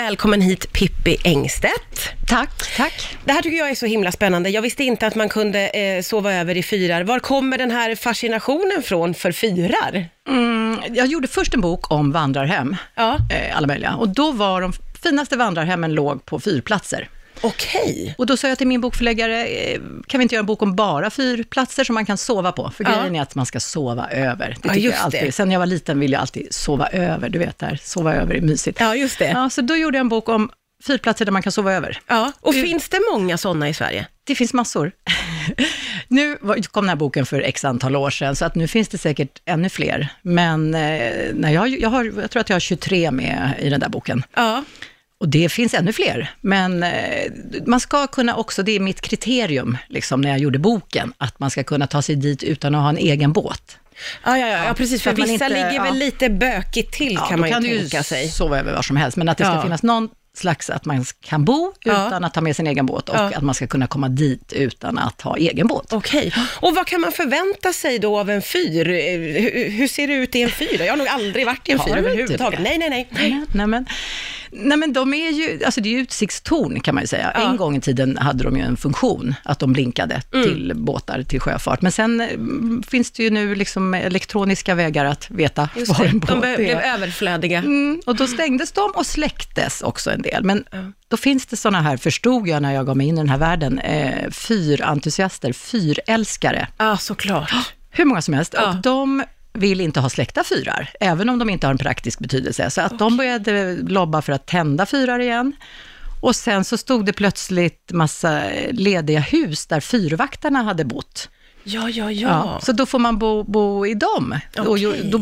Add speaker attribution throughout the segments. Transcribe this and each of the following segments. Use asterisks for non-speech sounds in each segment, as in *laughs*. Speaker 1: Välkommen hit Pippi Engstedt.
Speaker 2: Tack, tack.
Speaker 1: Det här tycker jag är så himla spännande. Jag visste inte att man kunde eh, sova över i fyrar. Var kommer den här fascinationen från för fyrar?
Speaker 2: Mm, jag gjorde först en bok om vandrarhem,
Speaker 1: Ja.
Speaker 2: eh, alla möjliga, och då var de finaste vandrarhemmen låg på fyrplatser.
Speaker 1: Okej.
Speaker 2: Och då sa jag till min bokförläggare, eh, kan vi inte göra en bok om bara fyrplatser som man kan sova på? För
Speaker 1: Ja.
Speaker 2: grejen är att man ska sova över. Det
Speaker 1: Ja,
Speaker 2: tycker jag
Speaker 1: just
Speaker 2: alltid.
Speaker 1: det.
Speaker 2: Sen jag var liten ville jag alltid sova över, du vet det här, sova över är mysigt.
Speaker 1: Ja, just det. Ja.
Speaker 2: Ja, så då gjorde jag en bok om fyrplatser där man kan sova över.
Speaker 1: Och
Speaker 2: Mm.
Speaker 1: finns det många sådana i Sverige?
Speaker 2: Det finns massor. *laughs* nu var- kom den här boken för x antal år sedan, så att nu finns det säkert ännu fler. Men eh, nej, jag, jag, har, jag tror att jag har 23 med i den där boken.
Speaker 1: Ja.
Speaker 2: Och det finns ännu fler, men eh, man ska kunna också, det är mitt kriterium liksom, när jag gjorde boken, att man ska kunna ta sig dit utan att ha en egen båt.
Speaker 1: Ja, ja, ja, ja precis.
Speaker 2: Så
Speaker 1: För
Speaker 2: att man
Speaker 1: vissa
Speaker 2: inte-
Speaker 1: ligger
Speaker 2: ja.
Speaker 1: väl lite bökigt till
Speaker 2: Ja,
Speaker 1: kan
Speaker 2: då
Speaker 1: man ju
Speaker 2: kan du
Speaker 1: tänka sig.
Speaker 2: sova över var som helst, men att det ska
Speaker 1: Ja.
Speaker 2: finnas någon slags, att man kan bo
Speaker 1: Ja.
Speaker 2: utan att ta med sin egen båt och
Speaker 1: Ja.
Speaker 2: att man ska kunna komma dit utan att ha egen båt.
Speaker 1: Okej. Och vad kan man förvänta sig då av en fyr? Eh, Hur, hur ser det ut i en fyr? Jag har nog aldrig varit i en
Speaker 2: Har
Speaker 1: fyr
Speaker 2: du inte
Speaker 1: överhuvudtaget.
Speaker 2: det?
Speaker 1: Nej, nej, nej.
Speaker 2: Nej, men- nej, men, nej, men de är ju, alltså det är ju utsiktstorn kan man ju säga.
Speaker 1: Ja.
Speaker 2: En gång i tiden hade de ju en funktion, att de blinkade
Speaker 1: Mm.
Speaker 2: till båtar, till sjöfart. Men sen mm, finns det ju nu liksom elektroniska vägar att veta
Speaker 1: Just
Speaker 2: var
Speaker 1: det.
Speaker 2: en båt
Speaker 1: De be- blev
Speaker 2: är.
Speaker 1: överflödiga.
Speaker 2: Mm, och då stängdes de och släcktes också en del. Men då finns det sådana här, förstod jag när jag gav mig in i den här världen, eh, fyrentusiaster, fyrälskare
Speaker 1: Ja, såklart.
Speaker 2: hur många som helst.
Speaker 1: Ja.
Speaker 2: Och de vill inte ha släckta fyrar, även om de inte har en praktisk betydelse. Så att de började lobba för att tända fyrar igen. Och sen så stod det plötsligt massa lediga hus där fyrvaktarna hade bott.
Speaker 1: Ja, ja, ja.
Speaker 2: Så då får man bo, bo i dem. Och
Speaker 1: Okej.
Speaker 2: ju- då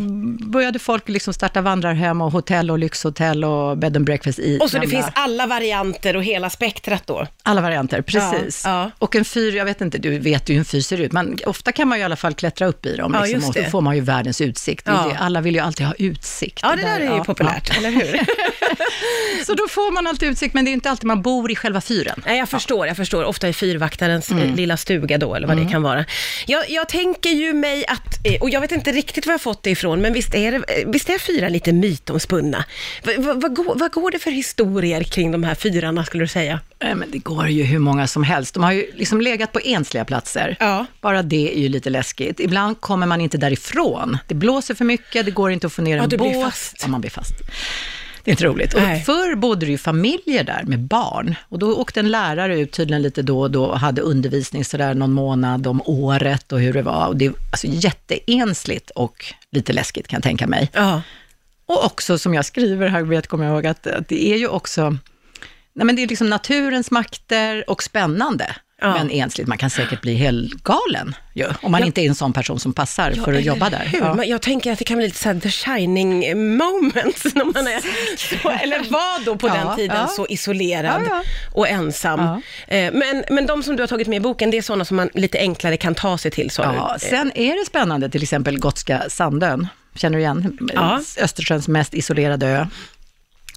Speaker 2: började folk liksom starta vandrarhem och hotell och lyxhotell och bed and breakfast i
Speaker 1: Och så det
Speaker 2: gamla-
Speaker 1: finns alla varianter och hela spektrat då?
Speaker 2: alla varianter, precis.
Speaker 1: Ja, ja.
Speaker 2: Och en fyr, jag vet inte, du vet ju hur en fyr ser ut, men ofta kan man ju i alla fall klättra upp i dem,
Speaker 1: Ja,
Speaker 2: liksom,
Speaker 1: just
Speaker 2: och
Speaker 1: det.
Speaker 2: då får man ju världens utsikt. Det är
Speaker 1: Ja.
Speaker 2: ju det. Alla vill ju alltid ha utsikt.
Speaker 1: Ja, det där är ju
Speaker 2: ja,
Speaker 1: populärt, eller hur?
Speaker 2: ja. *laughs* Så då får man alltid utsikt, men det är ju inte alltid man bor i själva fyren.
Speaker 1: *laughs* Nej, jag förstår, jag förstår. Ofta i fyrvaktarens eh, lilla stuga då, eller vad det kan vara. Jag, jag tänker ju mig att, eh, och jag vet inte riktigt var jag fått det ifrån, men visst är, det, eh, visst är fyra lite mytomspunna? V, v, vad, går, vad går det för historier kring de här fyrarna, skulle du säga?
Speaker 2: Nej, Men det går ju hur många som helst. De har ju liksom legat på ensliga platser.
Speaker 1: Ja.
Speaker 2: Bara det är ju lite läskigt. Ibland kommer man inte därifrån. Det blåser för mycket, det går inte att få ner
Speaker 1: Ja,
Speaker 2: en
Speaker 1: du blir
Speaker 2: båt.
Speaker 1: fast.
Speaker 2: Ja, man blir fast. Det är inte roligt. Och
Speaker 1: Nej.
Speaker 2: förr bodde det ju familjer där med barn. Och då åkte en lärare ut tydligen lite då och då och hade undervisning sådär någon månad om året och hur det var. Och det är alltså jätteensligt och lite läskigt kan jag tänka mig.
Speaker 1: Ja.
Speaker 2: Och också som jag skriver här, vet, kommer jag ihåg, att, att det är ju också, nej men det är liksom naturens makter och spännande.
Speaker 1: Ja.
Speaker 2: Men ensligt, man kan säkert bli helt galen ju, om man inte är en sån person som passar för att jobba där.
Speaker 1: Hur?
Speaker 2: Ja.
Speaker 1: Men Jag tänker att det kan bli lite så här the shining moment, *laughs* när man är så, eller var då på
Speaker 2: Ja,
Speaker 1: den tiden
Speaker 2: ja.
Speaker 1: så isolerad
Speaker 2: Ja, ja.
Speaker 1: och ensam. Eh, Men, men de som du har tagit med i boken, det är sådana som man lite enklare kan ta sig till, sa
Speaker 2: Ja,
Speaker 1: du? Eh.
Speaker 2: sen är det spännande, till exempel Gotska Sandön, känner du igen? eh,
Speaker 1: Ja.
Speaker 2: Östersjöns mest isolerade ö.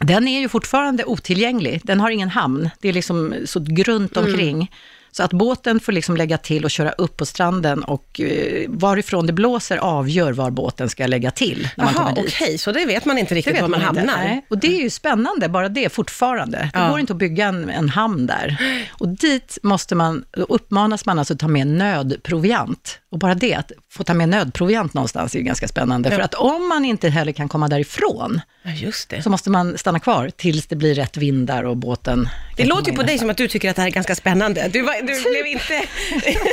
Speaker 2: Den är ju fortfarande otillgänglig, den har ingen hamn, det är liksom så grunt
Speaker 1: Mm.
Speaker 2: omkring. Så att båten får liksom lägga till och köra upp på stranden och eh, varifrån det blåser avgör var båten ska lägga till när man
Speaker 1: Jaha,
Speaker 2: kommer
Speaker 1: okej,
Speaker 2: dit.
Speaker 1: så det vet man inte
Speaker 2: Det
Speaker 1: riktigt
Speaker 2: vet
Speaker 1: var man,
Speaker 2: inte.
Speaker 1: hamnar.
Speaker 2: Nej. Och det är ju spännande, bara det fortfarande. Det
Speaker 1: Ja.
Speaker 2: går inte att bygga en, en hamn där. Och dit måste man, då uppmanas man alltså att ta med nödproviant. Och bara det, att få ta med nödproviant någonstans är ju ganska spännande. För att om man inte heller kan komma därifrån,
Speaker 1: Ja, just det.
Speaker 2: så måste man stanna kvar tills det blir rätt vindar och båten
Speaker 1: Det
Speaker 2: kan
Speaker 1: låter ju
Speaker 2: komma
Speaker 1: på
Speaker 2: in.
Speaker 1: dig som att du tycker att det här är ganska spännande. Du, var, du blev inte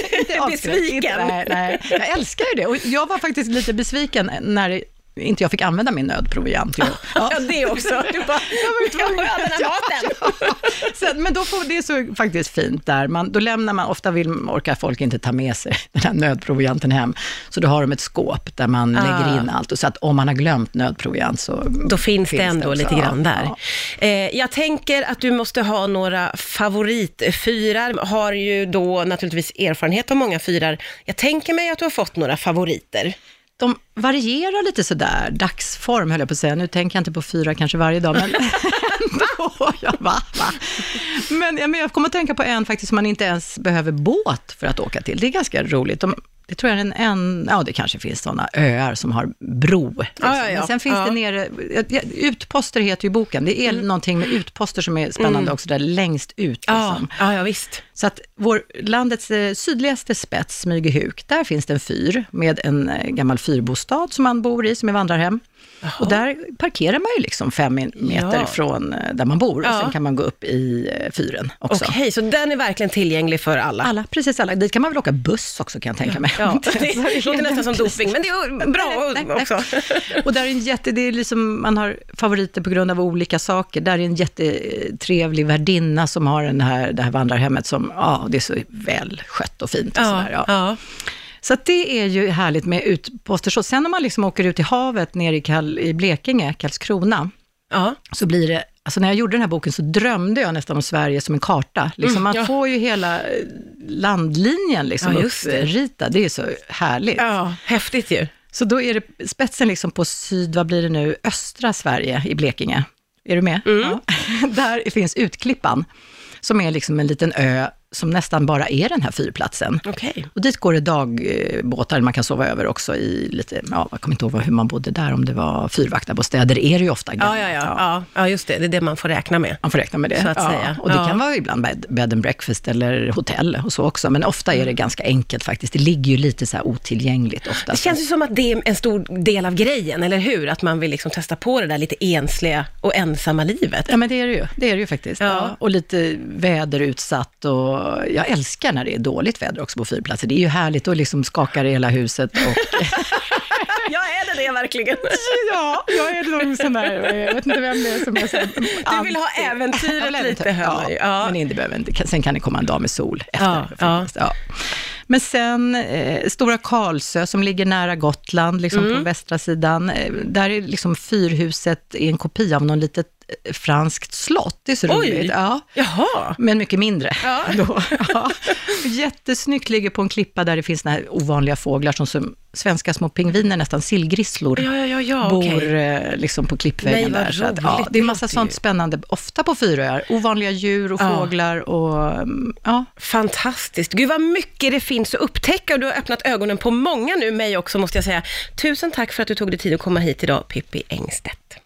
Speaker 1: *laughs* besviken.
Speaker 2: Typ. Nej, nej. Jag älskar ju det. Och jag var faktiskt lite besviken när inte jag fick använda min nödproviant. ju. Ja.
Speaker 1: *laughs* Ja, det också. Du
Speaker 2: *laughs*
Speaker 1: bara, jag var ju tvungen att den här maten.
Speaker 2: Sen, men då får, det är så faktiskt fint där. Man, då lämnar man, ofta vill, orkar folk inte ta med sig *laughs* den här nödprovianten hem, så då har de ett skåp där man
Speaker 1: Ah.
Speaker 2: lägger in allt. Och så att om man har glömt nödproviant så...
Speaker 1: Då finns, det ändå
Speaker 2: också.
Speaker 1: lite grann
Speaker 2: Ja,
Speaker 1: där.
Speaker 2: ja.
Speaker 1: Eh, jag tänker att du måste ha några favoritfyrar. Har ju då naturligtvis erfarenhet av många fyrar. Jag tänker mig att du har fått några favoriter.
Speaker 2: De varierar lite sådär, dagsform höll jag på att säga. Nu tänker jag inte på fyra kanske varje
Speaker 1: *laughs*
Speaker 2: dag, men *laughs* ändå. Jag bara, va? Men, ja, men jag kommer att tänka på en faktiskt som man inte ens behöver båt för att åka till. Det är ganska roligt. De, det tror jag är en, en, ja det kanske finns sådana öar som har bro. Liksom.
Speaker 1: Ja, ja, ja.
Speaker 2: Men sen finns
Speaker 1: Ja. Mm.
Speaker 2: det nere, ja, utposter heter ju boken, det är någonting med utposter som är spännande också, där längst ut
Speaker 1: Ja,
Speaker 2: liksom.
Speaker 1: ja, ja visst.
Speaker 2: Så att vår, landets eh, sydligaste spets, Smygehuk, där finns det en fyr med en eh, gammal fyrbostad som man bor i, som är vandrarhem. Och där parkerar man ju liksom fem min- meter
Speaker 1: Ja.
Speaker 2: från eh, där man bor
Speaker 1: Ja.
Speaker 2: och sen kan man gå upp i eh, fyren också.
Speaker 1: Okej, så den är verkligen tillgänglig för alla?
Speaker 2: Alla, precis alla. Dit kan man väl åka buss också kan jag tänka mig. *laughs*
Speaker 1: Ja,
Speaker 2: Så
Speaker 1: det låter nästan som
Speaker 2: precis.
Speaker 1: doping, men det är bra
Speaker 2: Nej, nej, nej.
Speaker 1: också.
Speaker 2: *laughs* Och där är en jätte, det är liksom, man har favoriter på grund av olika saker. Där är en jättetrevlig värdinna som har den här, det här vandrarhemmet som, ja, det är så väl skött och fint och sådär. Ja.
Speaker 1: ja.
Speaker 2: Så att det är ju härligt med utposter så. Sen om man liksom åker ut i havet nere i, Kall, i Blekinge, Karlskrona,
Speaker 1: ja.
Speaker 2: så blir det, alltså när jag gjorde den här boken så drömde jag nästan om Sverige som en karta. Liksom man
Speaker 1: Mm, ja.
Speaker 2: får ju hela eh, landlinjen liksom
Speaker 1: Ja, just det.
Speaker 2: uppritad, det är så härligt.
Speaker 1: ja. häftigt ju.
Speaker 2: Så då är det spetsen liksom på syd, vad blir det nu, östra Sverige i Blekinge. Är du med?
Speaker 1: Mm.
Speaker 2: Ja. *laughs* Där finns Utklippan, som är liksom en liten ö som nästan bara är den här fyrplatsen.
Speaker 1: Okej.
Speaker 2: Och dit går det dagbåtar, man kan sova över också i lite, ja, jag kommer inte ihåg hur man bodde där, om det var fyrvaktarbostäder, det är det ju ofta.
Speaker 1: Ja, ja, ja, ja. ja, just det. Det är det man får räkna med.
Speaker 2: Man får räkna med det.
Speaker 1: Så att
Speaker 2: ja.
Speaker 1: säga.
Speaker 2: Och det
Speaker 1: Ja.
Speaker 2: kan vara ibland bed, bed and breakfast eller hotell och så också, men ofta är det ganska enkelt faktiskt. Det ligger ju lite så här otillgängligt ofta.
Speaker 1: Det känns ju som att det är en stor del av grejen, eller hur? Att man vill liksom testa på det där lite ensliga och ensamma livet.
Speaker 2: Ja, men det är det ju. Det är det ju faktiskt.
Speaker 1: Ja.
Speaker 2: Ja. Och lite väderutsatt och jag älskar när det är dåligt väder också på fyrplatser. Det är ju härligt och liksom skakar i hela huset och...
Speaker 1: Ja, är det det verkligen? *laughs*
Speaker 2: ja, jag är nog sån där, jag vet inte vem det är som är så...
Speaker 1: Du vill ha äventyret lite, hör man
Speaker 2: ja,
Speaker 1: ju.
Speaker 2: ja,
Speaker 1: Ja.
Speaker 2: men inte behöver inte. Sen kan det komma en dag med sol efter.
Speaker 1: Ja,
Speaker 2: faktiskt.
Speaker 1: ja.
Speaker 2: Ja. Men sen eh, Stora Karlsö som ligger nära Gotland, liksom
Speaker 1: Mm.
Speaker 2: på västra sidan. Eh, där är liksom fyrhuset i en kopia av någon litet eh, franskt slott. Det är så
Speaker 1: Oj.
Speaker 2: roligt. Ja.
Speaker 1: Jaha.
Speaker 2: Men mycket mindre. *laughs*
Speaker 1: Ja.
Speaker 2: Då. Ja. Jättesnyggt, ligger på en klippa där det finns några ovanliga fåglar som, som svenska små pingviner, nästan sillgrisslor,
Speaker 1: Ja, ja, ja, ja okej.
Speaker 2: bor eh, liksom på
Speaker 1: Nej,
Speaker 2: klippväggen
Speaker 1: vad
Speaker 2: där. Så att, ja,
Speaker 1: roligt.
Speaker 2: det är
Speaker 1: Det
Speaker 2: massa
Speaker 1: låter
Speaker 2: sånt
Speaker 1: ju-
Speaker 2: spännande, ofta på fyröar. Ovanliga djur och
Speaker 1: Ja.
Speaker 2: fåglar och mm, ja.
Speaker 1: Fantastiskt. Gud vad mycket det finns att upptäcka och du har öppnat ögonen på många nu, mig också måste jag säga. Tusen tack för att du tog dig tid att komma hit idag, Pippi Engstedt.